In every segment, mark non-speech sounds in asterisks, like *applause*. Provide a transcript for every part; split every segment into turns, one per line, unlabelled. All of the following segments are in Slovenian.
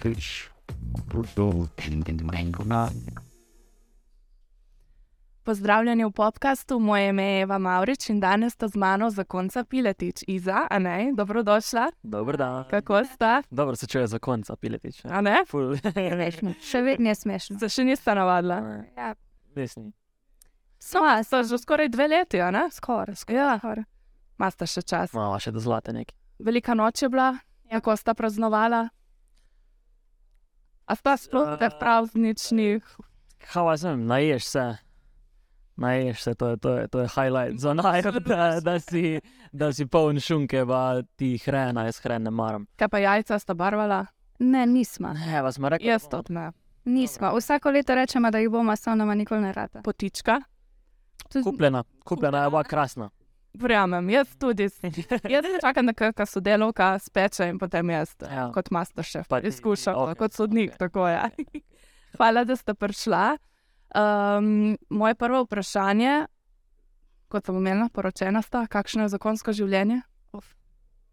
Fisch,
Pozdravljeni v podkastu, moje ime je Eva Mavrič in danes sta z mano zakonca Piletič. Iza, a ne, dobrodošla,
Dobro, da.
kako sta?
Dobro se čuje za konca, piletič.
A ne,
Ful, *laughs*
Smešno. Še vedno je smešno.
se še nista navadila.
Ja,
resni.
Sva, sta že skoraj dve leti, a ne?
skoraj. skoraj.
Ja, masta še čas.
Mala še do zlate neki.
Velika noč je bila,
Ja.
kako sta praznovala. A sta sploh teh prazničnih?
Kaj vas vem, naješ se. Naješ se, to je, to je, to je highlight za *laughs* naj, da, da, si, da si poln šunke, pa ti hrena, jaz hrene ne maram.
Kaj pa jajca sta barvala?
Ne, nismo.
Ne, vas ima rekel.
Jaz to ne.
nismo. no. Vsako leto rečemo, da jih bomo, samo nama nikoli ne rata.
Potička?
Tudi
Kupljena, kupljena je bila *laughs* krasna.
Verjamem, jaz tudi.
Ja.
Jaz čakam, da kakšna sodelovka speče in potem jaz ja.
Ja.
kot master šef
Pa ti-
izkušam, okay,
okej,
kot sodnik. Okay.
okej.
Tako, ja. *laughs* Hvala, da ste prišla. Um, moje prvo vprašanje, kot sem omenila, poročena sta, kakšno je zakonsko življenje?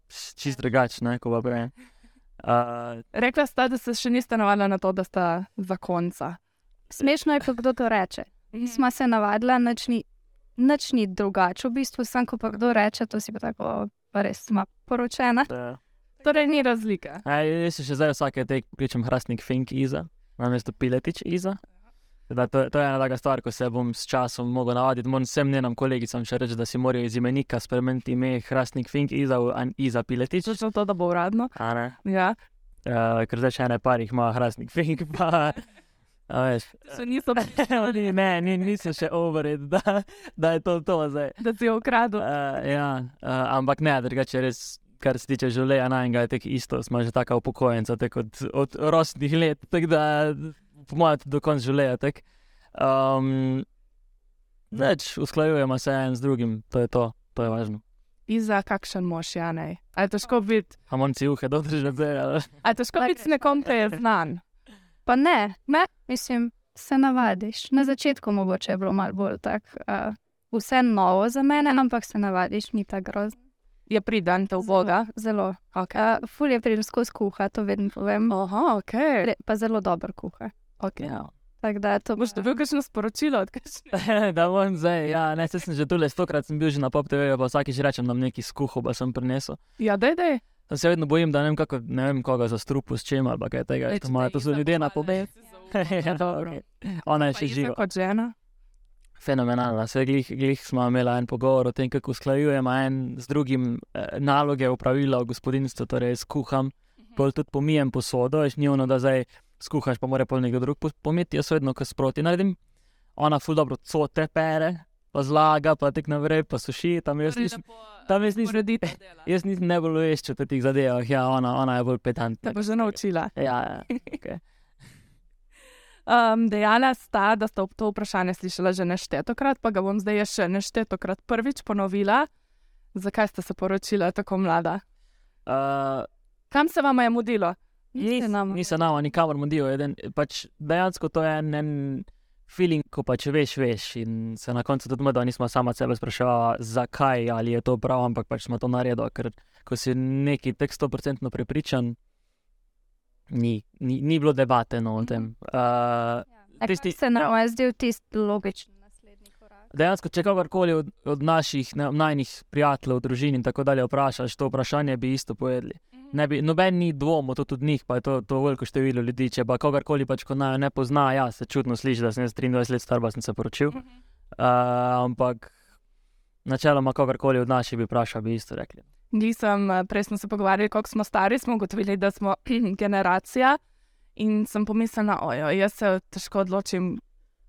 Pš, Čist drugačna, ko pa prej. Uh,
Rekla sta, da se še niste navadila na to, da sta zakonca.
Smešno je, ko kdo to reče. Sva se navadila, nič ni, nič ni drugače. V bistvu, sem ko pa kdo reče, to si pa tako, pa res smo poročena.
da-
Torej, ni razlike.
a, jaz se še zdaj vsake tek kličem hrastnik Fink Iza, namesto piletič Iza. Da, to, to je ena taka stvar, ko se bom s časom mogel navaditi. Moram vsem njenim kolegicam še reči, da si morajo iz imenika spremeniti ime hrastnik Fink Iza v an- Iza piletič.
Točno to, da bo uradno.
A ne?
Ja.
Uh, ker zdaj še ene par jih ima hrastnik Fink, pa. A veš, *laughs*
Še niso prišli,
Oni ne, ni, niso še overed, da, da je to to zdaj.
da si jo ukradel.
Uh, ja, uh, ampak ne, drugače res, kar se tiče življenja, najmenjega je tek isto, smo že tako upokojenci, tako od, od rosnih let, tako da, po mojem, do konca življenja. tak. Um, Več usklajujemo se en z drugim, to je to, to je važno.
Iza, kakšen mož je, a ne? A je
Oh.
težko biti?
Hamonci uhe, dotrži nazaj.
A je težko biti s nekom, ki je znan?
Pa ne, ne, mislim, se navadiš. Na začetku mogoče je bilo malo bolj tako. Uh, Vse novo za mene, ampak se navadiš, ni tako grozno.
Je pridan te v Boga.
Zelo.
Okay.
Uh, ful je pridem skozi kuha, to vedno povem.
Aha, ok.
Le, pa zelo dober kuha.
okay.
Ja.
Tako da to
Boš dobil kakšno sporočilo od kakšne?
*laughs* da bom zdaj, ja, ne, saj sem že tole, stokrat sem bil že na pop TV, pa vsakič rečem, da neki skuho, pa sem prinesel.
Ja, dej, dej.
Sem se vedno bojim, da ne vem, kako, ne vem koga zastrupu s čem ali pa kaj tega. To, imajo, to so ljudje na pobedu. *laughs* Ja, dobro. Ona je še živa.
Kot žena.
Fenomenalna. Se glih, glih smo imeli en pogovor o tem, kako usklajujemo en z drugim eh, naloge, upravila v gospodinstvu, torej skuham, bolj tudi pomijem posodo, ješ ni ono, da zdaj skuhaš, pa mora pol nekdo drug po- pomiti, jaz vedno, ko sproti naredim, ona ful dobro cote pere, pa zlaga, pa tek naprej, pa suši, tam
Torej,
jaz nisem, tam jaz nisem,
Uredite.
*laughs* jaz nisem najbolj vešč o teh zadevah, ja, ona, ona je bolj pedantna.
Te bo že naučila.
Ja, ja.
Um, dejala sta, da ste to vprašanje slišala že neštetokrat, pa ga bom zdaj jaz še neštetokrat prvič ponovila. Zakaj ste se poročila tako mlada?
Uh,
Kam se vam je mudilo?
Niste nam-
Nisem nama nikamor mudil. eden- Pač dejansko to je en, en feeling, ko pač veš, veš. In se na koncu tudi mudil, nismo sama sebe spraševali, zakaj ali je to prav, ampak pač smo to naredili. Ker ko si neki tek stoprocentno prepričan, ni, ni, ni bilo debate no, o tem. Uh, tisti-
Tisti... Ja, Se nam je zdel tisti logičen naslednji korak.
dejansko, če kogarkoli od, od naših ne, najnih prijateljev, družin in tako dalje vprašaš, to vprašanje bi isto povedali. Ne bi, noben ni dvomil, to tudi njih, pa je to, to veliko število ljudi. Če pa kogarkoli pač, ko naj ne pozna, ja, se čudno sliši, da sem jaz 23 let star, pa sem se poročil. Uh, ampak načeloma, kogarkoli od naših bi vprašal, bi isto rekli.
Nisem, eh, prej smo se pogovarjali, koliko smo stari, smo ugotovili, da smo *clears throat* generacija. In sem pomislila, ojo, jaz se težko odločim,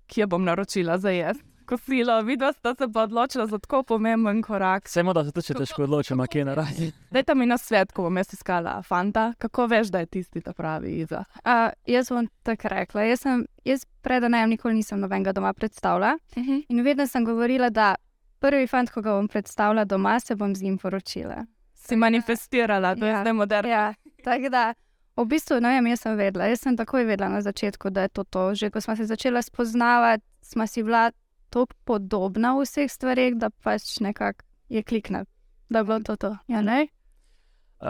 kje bom naročila za jaz. Kosilo, videla sta se pa odločila za tako pomemben korak.
Vsemo, da se tudi težko odločimo, kje narediti.
Dajte mi na svet, ko bom jaz iskala fanta, kako veš, da je tisti ta pravi Iza.
Uh, jaz bom tako rekla. Jaz, sem, jaz pred najem nikoli nisem nobenega doma predstavljala in vedno sem govorila, da prvi fant, ko ga bom predstavljala doma, se bom z njim poročila.
Si manifestirala, to je
Ja.
zdaj moderno.
Ja, tako da. V bistvu, ne vem, jaz sem vedela, jaz sem takoj vedela na začetku, da je to to. Že ko smo se začela spoznavati, smo si bila tako podobna v vseh stvarih, da pač nekako je kliknila, da je bilo to to. Ja, ne?
Uh,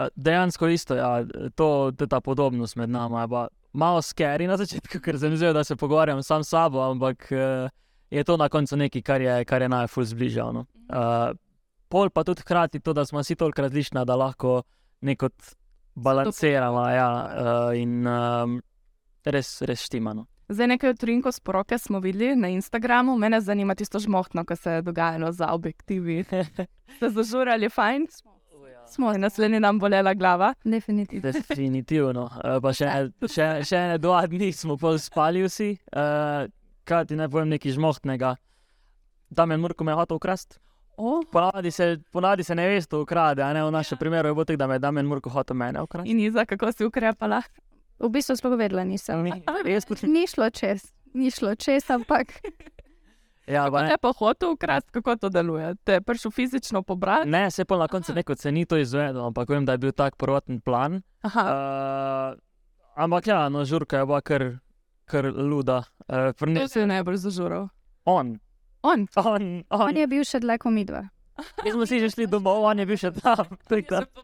eh, dejansko isto, ja, to, to je ta podobnost med nami. Je pa malo skeri na začetku, ker se mi zdi, da se pogovarjam sam s sabo, ampak eh, je to na koncu nekaj, kar je, kar je najbolj zbližano. Uh, pol pa tudi hkrati to, da smo vsi toliko različni, da lahko neko balanciramo ja, uh, in um, res, res no. štimano.
Zdaj, nekaj utrinko sporoke smo videli na Instagramu, mene zanima tisto žmohtno, ki se je dogajalo za
*laughs*
objektivi. Ste zažurali, fajn,
Smo
moj naslednji dan bolela glava.
definitivno.
Definitivno. Uh, pa še, ene- še, še ene dva dni smo pol spali vsi, uh, kaj ti ne povem nekaj žmohtnega. Da me mrko me hotel ukrasti.
Oh.
Ponavadi se, ponavadi se ne veš, to ukrade, a ne v našem primeru je bilo tako, da me je Damien Murko hotel mene ukrasti.
In Iza, kako si ukrepala?
V bistvu sploh vedela nisem.
*laughs*
Jaz kot
Ni šlo čez, ni šlo čez, ampak *laughs*
ja, pa
Kako
ne.
te pa hotel ukrasti, kako to deluje? Te je prišel fizično pobrati?
Ne, se je pa na koncu neko ceni to izvedel, ampak vem, da je bil tak prvoten plan.
Aha,
Uh, ampak ja, no, žurka je bila kar, kar luda. Uh,
to
prne,
se je najbolj zažural.
on,
On,
on, on.
on je bil še dlje kot midva.
Mi smo si že šli domov, on je bil še tam. tako da-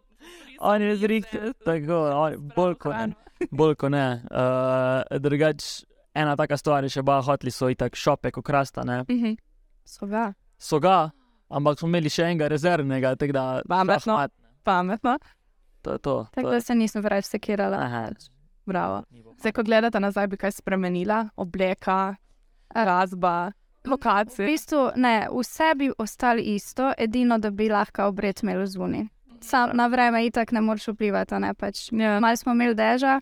On je zrihtel, tako, no. on, bolj kot ne. Bolj kot ne. Uh, drugač, ena taka stvar je še bila, hoteli so itak šope, ko krasta, ne.
Mhm.
So ga.
so ga, ampak smo imeli še enega rezervnega, tako da
Pametno.
šah mat,
Pametno,
To je to.
Tako
to
Torej
da
je-
se nisem preveč sekirala.
Aha.
bravo. Zdaj, ko gledate nazaj, bi kaj spremenila, obleka, razba,
V
lokacije.
bistvu ne, vse bi ostalo isto, edino, da bi lahko obred imel zunaj. Sam na vreme itak ne moreš vplivati, a ne pač.
Ja.
Malo smo imeli deža,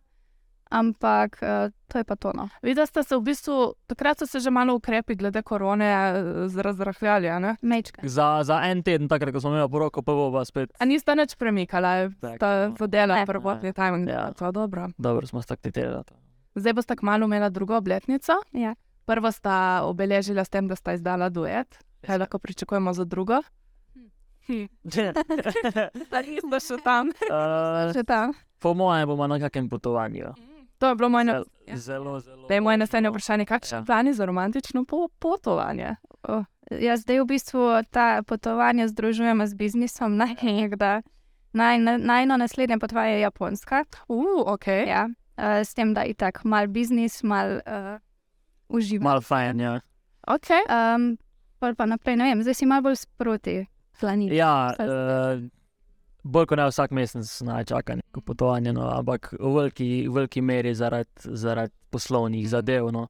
ampak uh, to je pa tono.
Videla ste se v bistvu, takrat so se že malo ukrepi glede korone eh, z- razrahljali. a ne?
Mečka.
Za, za en teden, takrat, ko smo imeli poroko, pa bo pa spet.
A niste nič premikala,
Tak,
sta
no.
zadela
Ne.
prvotni timing. Ja.
Ja.
To je dobro.
Dobro smo staktirali.
Zdaj boste kmalo imela drugo obletnico.
Ja.
Prvo sta obeležila s tem, da sta izdala duet. Kaj lahko pričakujemo za drugo? Da niste še tam.
uh,
Že tam.
po mojem bomo na kakem potovanju.
*laughs* To je bilo moje, na-
Zelo, zelo.
da je moje naslednje vprašanje. Kakšni
Ja.
ja. plani za romantično po potovanje?
Jaz zdaj v bistvu ta potovanja združujem z biznisom. *laughs* Najnekda. Naj, na- najno naslednje potovanje je Japonska.
Uf, ok. Ja.
Ja. Uh, s tem, da je itak mal biznis, mal uh, uživam.
Mal fajn, ja.
okay.
Um, pol pa naprej, ne vem, zdaj si mal bolj sproti planini.
Ja,
Kaj
uh, bolj kot ne vsak mesec naj čaka neko potovanje, no, ampak v veliki, v veliki meri zaradi zarad poslovnih zadev. No.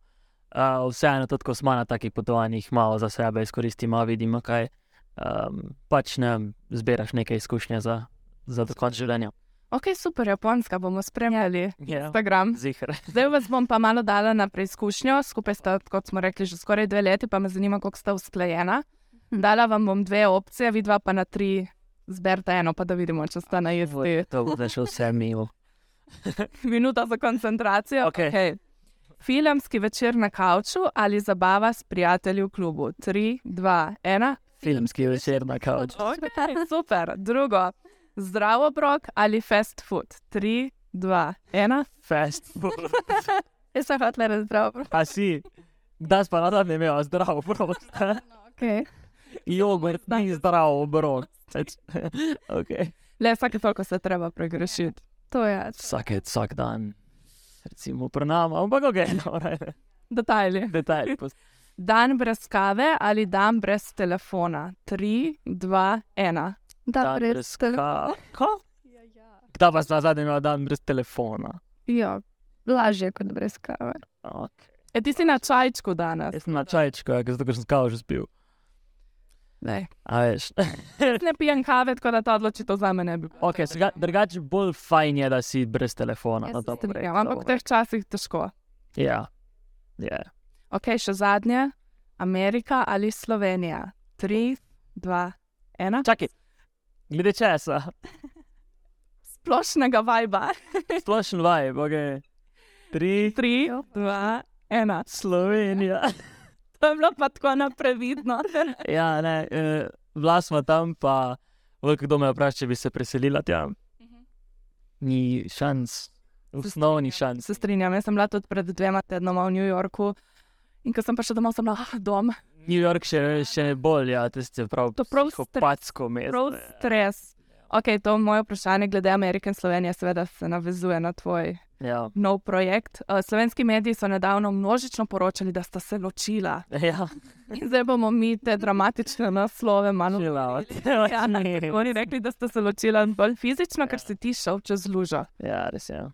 Uh, vseeno, tudi ko smo na takih potovanjih, malo za sebe izkoristimo, vidimo kaj. Um, pač ne zbiraš neke izkušnje za, za konec življenja.
ok, super, japonska bomo
No.
spremljali.
Yeah.
Instagram.
Ja. Zihar.
Zdaj vas bom pa malo dala na preizkušnjo, skupaj sta, kot smo rekli, že skoraj dve leti, pa me zanima, kako sta usklajena.
Hm.
Dala vam bom dve opcije, vidva pa na tri, zberta eno, pa da vidimo, če sta na isti.
Ja, To Ja, bo šlo vse mimo.
Minuta za koncentracijo.
Okej.
okej. Filmski večer na kavču ali zabava s prijatelji v klubu. 3, 2, 1.
Filmski večer na kavču.
Okay, *laughs* super. Drugo, zdrav obrok ali fast food. 3, 2, 1.
Fast food.
Jaz sem hotel razdravo.
A si, da si pa na zadnje imel zdrav obroč.
Okay.
Jogurt ni zdrav obrok. *laughs* okay.
Le vsake toliko se treba pregrešiti.
To je.
Vsake, vsak dan, recimo pri nas, ampak ok, *laughs* no,
Detajli.
detajli. pust-
Dan brez kave ali dan brez telefona. 3, 2, 1.
Da,
Dan brez
brez tele-
ka- ka- Kdaj pa si na zadnje imel dan brez telefona?
Ja, lažje kot brez kave.
Okay.
E, ti si na čajčku danes.
Jaz sem na čajčku, ja, ker zato ker sem kavo že spil.
Ne,
A *laughs* veš.
Jaz ne pijem kave, tako da ta odločitev za me ne bi bila.
Okay, sega- Drugače, bolj fajn je, da si brez telefona.
Jaz
No,
se
dobro,
Ja, ampak v
dobro.
teh časih težko.
Ja, ja.
Ok, še zadnje. Amerika ali Slovenija. 3, 2, 1.
Čakaj, glede česa, *laughs*
Splošnega vibra.
splošen vibe, ok. Tri,
3, 2, 1.
Slovenija.
To je bilo pa tako naprevidno.
Ja, ne, eh, bila smo tam, pa veliko kdo me vpraša, če bi se preselila tja. Ni šans, osnovni šans.
Mhm. Se strinjam, jaz sem bila tudi pred dvema tednoma v New Yorku. In ko sem prišla domov, sem bila, ah, dom.
New York še, še bolj, ja, tisti je prav,
To prav stres.
kopatsko mesto.
prav stres. Ok, to moje vprašanje glede Amerike in Slovenije, seveda se navezuje na tvoj
Ja. *laughs*
nov projekt. Eh, Slovenski mediji so nedavno množično poročali, da sta se ločila.
Ja,
In zdaj bomo mi te dramatične naslove malo
Chill out.
*laughs* Ja, Oni rekli, da sta se ločila bolj fizično, ker si ti šel čez lužo.
ja, res je.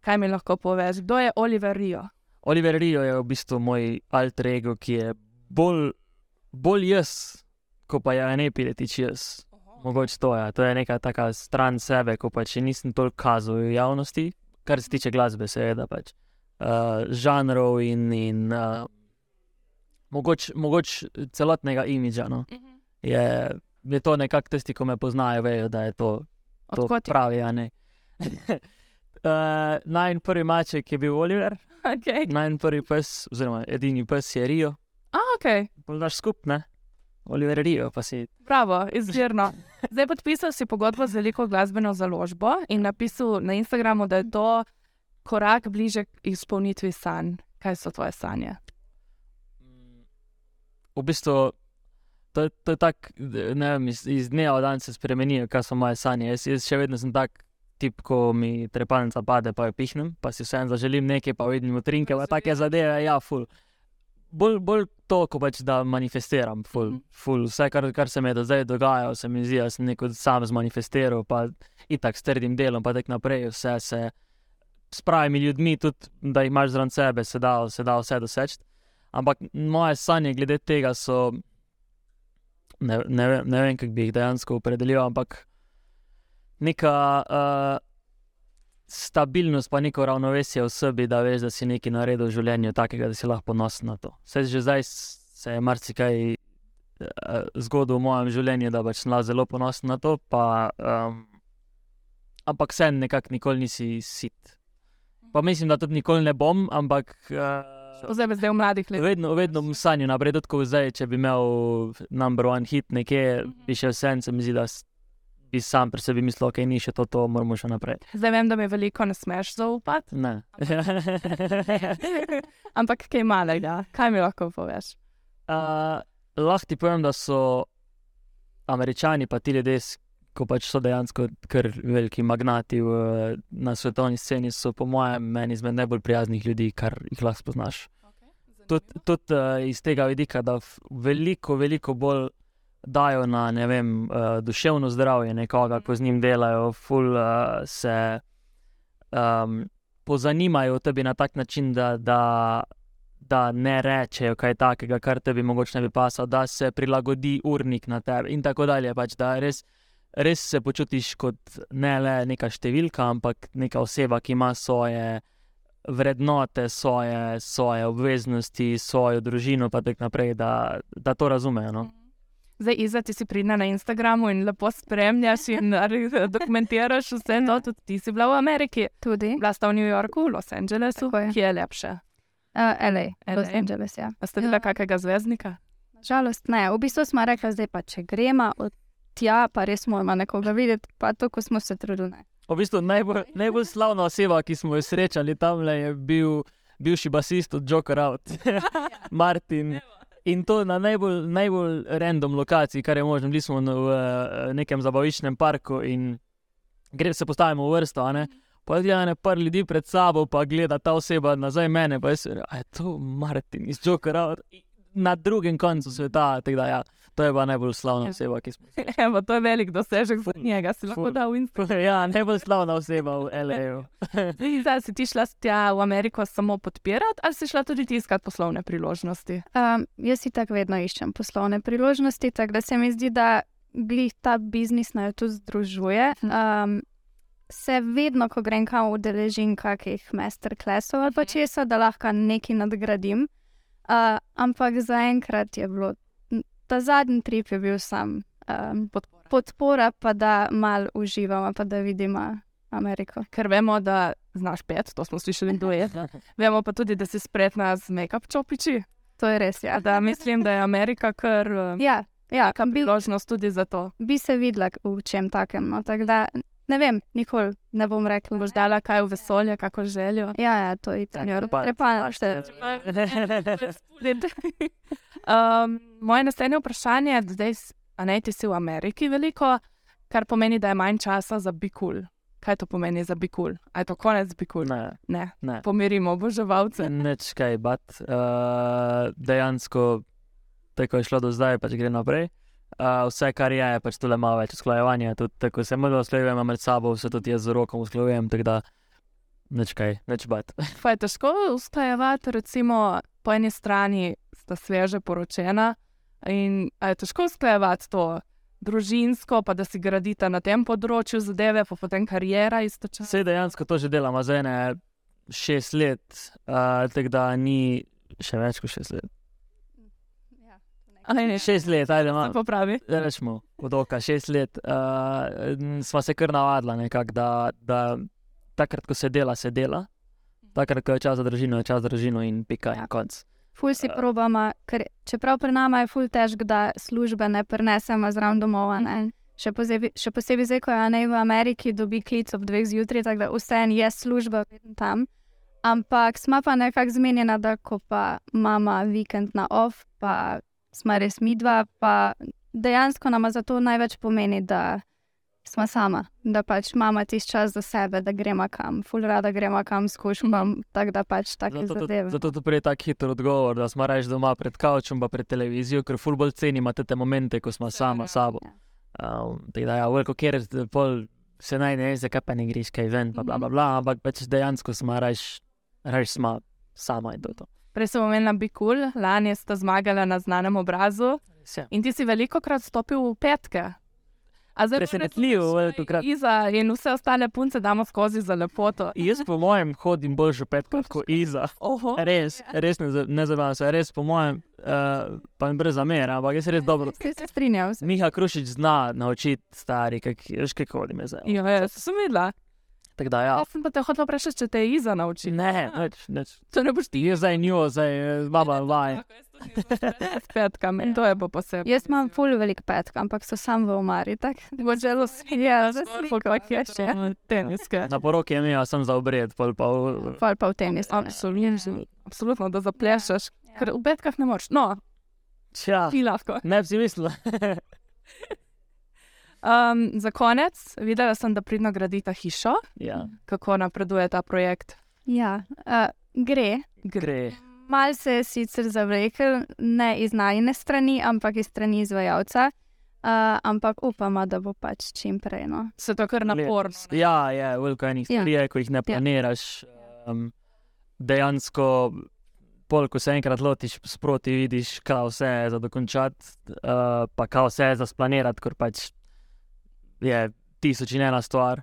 Kaj mi lahko poveš? Kdo je Oliver Rio?
Oliver Rio je v bistvu moj alter ego, ki je bolj, bolj jaz, kot pa je ne piletič jaz. Mogoče to je. To je neka taka stran sebe, ko pač še nisem toliko kazal v javnosti, kar se tiče glasbe, seveda pač. Uh, žanrov in, in uh, mogoče mogoč celotnega imidža. No. Je, je to nekako tisti, ki me poznajo, vejo, da je to, to
Odkot je?
pravi. a ne. *laughs* Uh, Najn prvi maček je bil Oliver,
*laughs* Okay.
najn prvi pes, oziroma edini pes je Rio,
A, ok,
daš skupne, Oliver Rio, pa si
bravo, izvirno. Zdaj podpisal si pogodbo z veliko glasbeno založbo in napisal na Instagramu, da je to korak bliže k izpolnitvi sanj. Kaj so tvoje sanje?
v bistvu, to, je- to je tako, da, ne vem, iz, iz dneva v dan se spremenijo, kaj so moje sanje. Jaz, jaz še vedno sem tak tip, ko mi trepalnica pade, pa jo pihnem, pa si vseeno zaželim nekaj, pa vidim utrinke, pa take zadeve, ja, ful. Bolj, bolj to, ko pač da manifestiram, ful,
Mhm.
ful. Vse, kar, kar se mi je do zdaj dogajalo, se mi zdi, da sem neko sam zmanifestiral, pa itak s trdim delom, pa tako naprej, vse se s pravimi ljudmi, tudi da jih imaš zraven sebe, se da, se da vse doseči. Ampak moje sanje glede tega so, ne, ne, vem- ne vem, kako bi jih dejansko opredelil, ampak neka uh, stabilnost, pa neko ravnovesje v sebi, da veš, da si nekaj naredil v življenju takega, da si lahko ponosen na to. Vse že zdaj s- se je marsikaj uh, zgodilo v mojem življenju, da pač sem lahko zelo ponosen na to, pa, um, ampak sen nekako nikoli nisi sit. Pa mislim, da tudi nikoli ne bom, ampak. Uh,
Oziroma, zdaj v mladih letih.
Vedno, vedno v sanju naprej, tudi ko zdaj, če bi imel number one hit nekje, bi še vse, se mi zdi, da s- bi sam pri sebi mislil, ok, ni še to, to moramo še naprej.
Zdaj vem, da mi veliko ne smeš zaupati, *laughs*
Ne.
ampak kaj malega. Kaj mi lahko poveš?
uh, lahko ti povem, da so američani, pa ti ljudje, s- ko pač so dejansko kar veliki magnati v, na svetovni sceni, so po mojem en izmed najbolj prijaznih ljudi, kar jih lahko spoznaš. Tudi tud, uh, iz tega vidika, da f- veliko, veliko bolj dajo na ne vem, uh, duševno zdravje nekoga, ko z njim delajo, ful uh, se um, pozanimajo o tebi na tak način, da, da, da ne rečejo kaj takega, kar tebi mogoče ne bi pasalo, da se prilagodi urnik na tebe in tako dalje. Pač, da res, res se počutiš kot ne le neka številka, ampak neka oseba, ki ima svoje vrednote, svoje, svoje obveznosti, svojo družino, pa tako naprej, da, da to razumejo. No?
Zdaj, Iza, ti si pridna na Instagramu in lepo spremljaš in nar- dokumentiraš vse to, tudi ti si bila v Ameriki.
Tudi
Bila sta v New Yorku, v Los Angelesu,
Tako je.
ki je lepše.
uh, LA, Los
LA.
Angeles. Ja.
A ste videla
Ja.
kakega zvezdnika?
Žalost ne. V bistvu smo rekli, zdaj pa če gremo od tja, pa res moramo nekoga videti, pa to, ko smo se trudili. Ne.
V bistvu najbolj, najbolj slavna oseba, ki smo jo srečali tam, je bil bivši basist od Joker Out, *laughs* Martin. In to na najbolj, najbolj random lokaciji, kar je možno. Bili smo na- v eh, nekem zabaviščnem parku in gre, se postavimo v vrsto. a Ne? Pa gleda ne par ljudi pred sabo, pa gleda ta oseba nazaj mene. Pa jaz, a je to Martin iz Joker Out. Na drugem koncu sveta, tako da ja, to je bila najbolj slavna oseba, ki smo *laughs* jo
*laughs* Evo, to je velik dosežek za
Ful,
njega, si lahko
ful.
dal
*laughs*
in
srečali. Ja, najbolj slavna oseba v L.A.
Zdaj, si ti šla tja v Ameriko samo podpirati, ali si šla tudi ti iskat poslovne priložnosti?
Um, jaz si tako vedno iščem poslovne priložnosti, tako da se mi zdi, da glih ta biznis naj jo tudi združuje. Um, se vedno, ko grem kam, udeležim kakih masterclassov ali pa česa, da lahko nekaj nadgradim. Uh, ampak zaenkrat je bilo, ta zadnji trip je bil sam um,
Podpora.
podpora, pa da mal uživamo, pa da vidimo Ameriko.
Ker vemo, da znaš pet, to smo slišali, kdo
*laughs*
je. Vemo pa tudi, da si spretna z make-up čopiči.
To je res, ja.
Ja, da mislim, da je Amerika
*laughs*
kar eh,
Ja, ja kam bil,
priložnost tudi za to.
bi se videla v čem takem. No, tako da, ne vem, nikoli ne bom rekla.
Boš dala kaj v vesolje, kako željo.
Ja, ja, to je
Tako,
itak.
pa-
Prepala ste.
*laughs* um, moje naslednje vprašanje je, da zdaj, s- a ne ti si v Ameriki veliko, kar pomeni, da je manj časa za bikul. Kaj to pomeni za bikul? A je to konec bikul?
Ne,
Ne.
ne.
Pomirimo oboževalce.
Neč kaj, bat. Uh, dejansko, tako je šlo do zdaj, pač gre naprej. Uh, vse, kar je, je pač tole malo več usklajevanja. Tudi tako se malo usklajujemo med sabo, vse tudi jaz z rokom usklajujem, tako da neč kaj, neč bat.
Pa je težko ustajevati, recimo, po eni strani sta sveže poročena in a je težko ustajevati to družinsko, pa da si gradita na tem področju zadeve, pa potem karijera istočasno.
Vse dejansko to že delamo, zdaj ne šest let, uh, tako da ni še več kot šest let.
Ja,
Ali ne, še
Šest let, ajde,
se
malo.
popravi.
rečemo, od oka šest let, uh, smo se kar navadili, nekak, da, da takrat, ko se dela, se dela. Takrat, ko je čas za družino, je čas za družino in pika in
Ja.
konc.
Ful si probama, ker čeprav pri nama je ful težko, da službe ne prenesemo zraven domov. a Ne? Še, posebej, še posebej zdaj, ko je Anej v Ameriki, dobi klic ob dveh zjutraj, tako da vseeno je služba vedno tam. Ampak smo pa nekako zmenjena, da ko pa mama vikend na off, pa smo res midva, pa dejansko nama zato največ pomeni, da smo sama, da pač imamo tisti čas za sebe, da gremo kam, ful rada gremo kam skušam, tako da pač tako
Mhm. Zato tudi-
zadeve.
Zato tu pride tako hiter odgovor, da smo reči doma pred kavčem, pa pred televizijo, ker ful bolj cenimo te, te momente, ko smo sama s sabo.
Ja.
Um, tako da, ja, veliko kjer pol se naj ne, zakaj pa ne greš kaj ven, pa bla
Mhm.
bla bla, ampak pač dejansko smo reči, reči smo sama in to je to.
Prej sem omenila Bikul, lani sta zmagala na znanem obrazu
Vse.
in ti si veliko krat stopil v petke. A zdaj pa
Presenetljivo,
resnično
velikokrat.
Iza in vse ostale punce damo skozi za lepoto.
Jaz, po mojem, hodim bolj že petkrat kot Iza.
Oho,
Res, res ne, za- ne zabavam se, res po mojem, uh, pa mi brez zamer, ampak jaz res dobro.
Se, se strinjam, se
Miha Krušič zna naučiti stari, kak, veš, kako hodim jaz. zdaj.
jo, jaz sem videla.
Tako da ja.
Ja, Jaz sem pa te hotel vprašati, če te je Iza naučila.
Ne, neč, neč.
To ne boš ti.
Ti je zdaj njo, zdaj eh, baba *laughs* vaj.
S petkami, in to je pa posebno.
Jaz imam ful velik petek, ampak so sam v omari. Tak.
Mogoče *laughs* zelo ja.
Ja,
za sliko, kot je še teniske.
Na poroki je imel, sem za obred, pol pa. v-
Fal pa v tenis.
Absolutno, absolutno, da zaplešeš,
Ja.
ker v petkah ne moreš. No,
Tja,
ti lahko.
ne bi si mislil.
Um, za konec, videla sem, da pridno gradita hišo.
ja,
Kako napreduje ta projekt?
Ja, uh, gre.
gre.
Mal se je sicer zavlekel, ne iz najne strani, ampak iz strani izvajalca. Uh, ampak upamo, da bo pač čim prej. No.
Se to kar naporno. ne?
Ja, je veliko enih
Ja.
stvari, je, ko jih ne planiraš. Um, dejansko, pol, ko se enkrat lotiš sproti, vidiš, kaj vse je za dokončati, uh, pa kaj vse je za splanirati, ker pač je tisoč in ena stvar.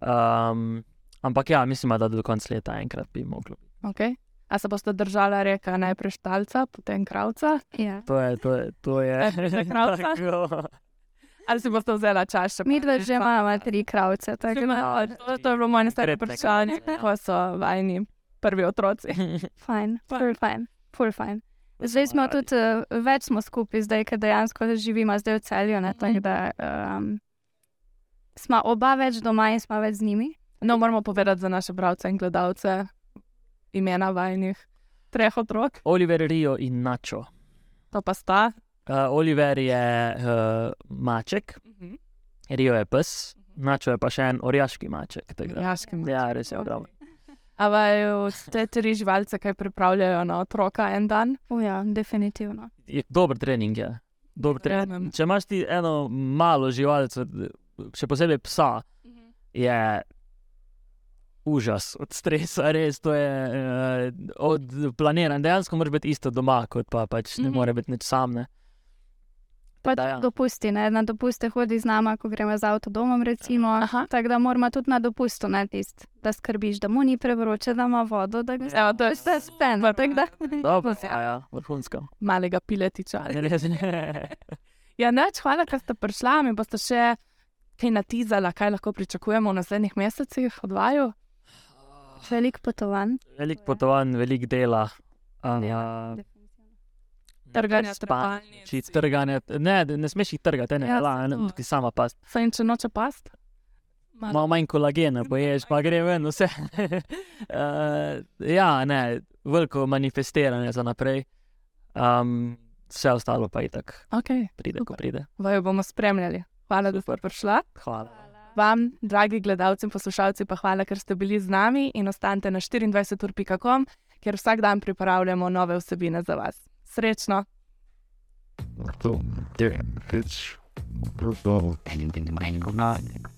Um, ampak ja, mislim, da do konca leta enkrat bi moglo.
Okay. A se boste držala reka najprej štalca, potem kravca?
Ja.
To je, to je, to je.
Za kravca?
*laughs* Tako.
Ali si boste vzela čas še?
Mi dva že imamo tri kravce.
Tako
Tako,
da,
da-
to, to je bilo moje stare
Konkretnega.
vprašanje, kako so vajni prvi otroci.
Fajn,
Fajn.
ful fajn, ful fajn. Zdaj smo tudi uh, več smo skupaj, zdaj, ker dejansko živimo zdaj v celju. Ne, tako da um, smo oba več doma in smo več z njimi.
No, moramo povedati za naše bralce in gledalce imena vajnih treh otrok,
Oliver Rio in Načo.
to pa sta.
Uh, Oliver je uh, maček, Rio je pes, načo je pa še en orjaški maček. tako da-
Jaškim.
Ja, res je ogromen.
A vaju te tri živalce, kaj pripravljajo na otroka en dan?
O ja, definitivno.
Je Dober trening je. Dober trening.
Verjamem.
Če imaš ti eno malo živalico, še posebej psa, je užas od stresa, res to je eh, od planiran. Dejansko moraš biti isto doma, kot pa pač ne
Mhm.
more biti nič sam. Ne.
Pa
Da, ja.
tudi dopusti, ne? na dopuste hodi z nami, ko gremo z avtodomom. Recimo, tako da moramo tudi na dopustu narediti, da skrbiš, da mu ni prevroče, da ima vodo, Ja, da ga
Evo, to je vse
vse spen. tako da-
Dobro, ja, ja, vrhunsko.
malega piletiča.
Ja, *laughs* res je.
Ja, neč, hvala, da ste prišla. Mi boste še kaj natizala, kaj lahko pričakujemo v naslednjih mesecih od vaju.
Veliko potovanj.
Veliko potovanj, veliko dela. Um, ja,
Trganja trepalnic.
Či trganje, ne, ne smeš jih trgati, ne,
Ja,
ja, la,
zato.
ne, ki sama past.
Saj in če noče past.
Malo manj kolagena poješ, pa gre ven vse. *laughs* uh, ja, ne, veliko manifestiranja za naprej. Um, vse ostalo pa je tako,
Okay.
pride, ko pride.
Vaju bomo spremljali. Hvala, da ste prišla.
Hvala.
Vam, dragi gledalci in poslušalci, pa hvala, ker ste bili z nami in ostanite na 24.com, kjer vsak dan pripravljamo nove vsebine za vas. Srečno!
So, der Pitch, Resolve,
and in the mind of God.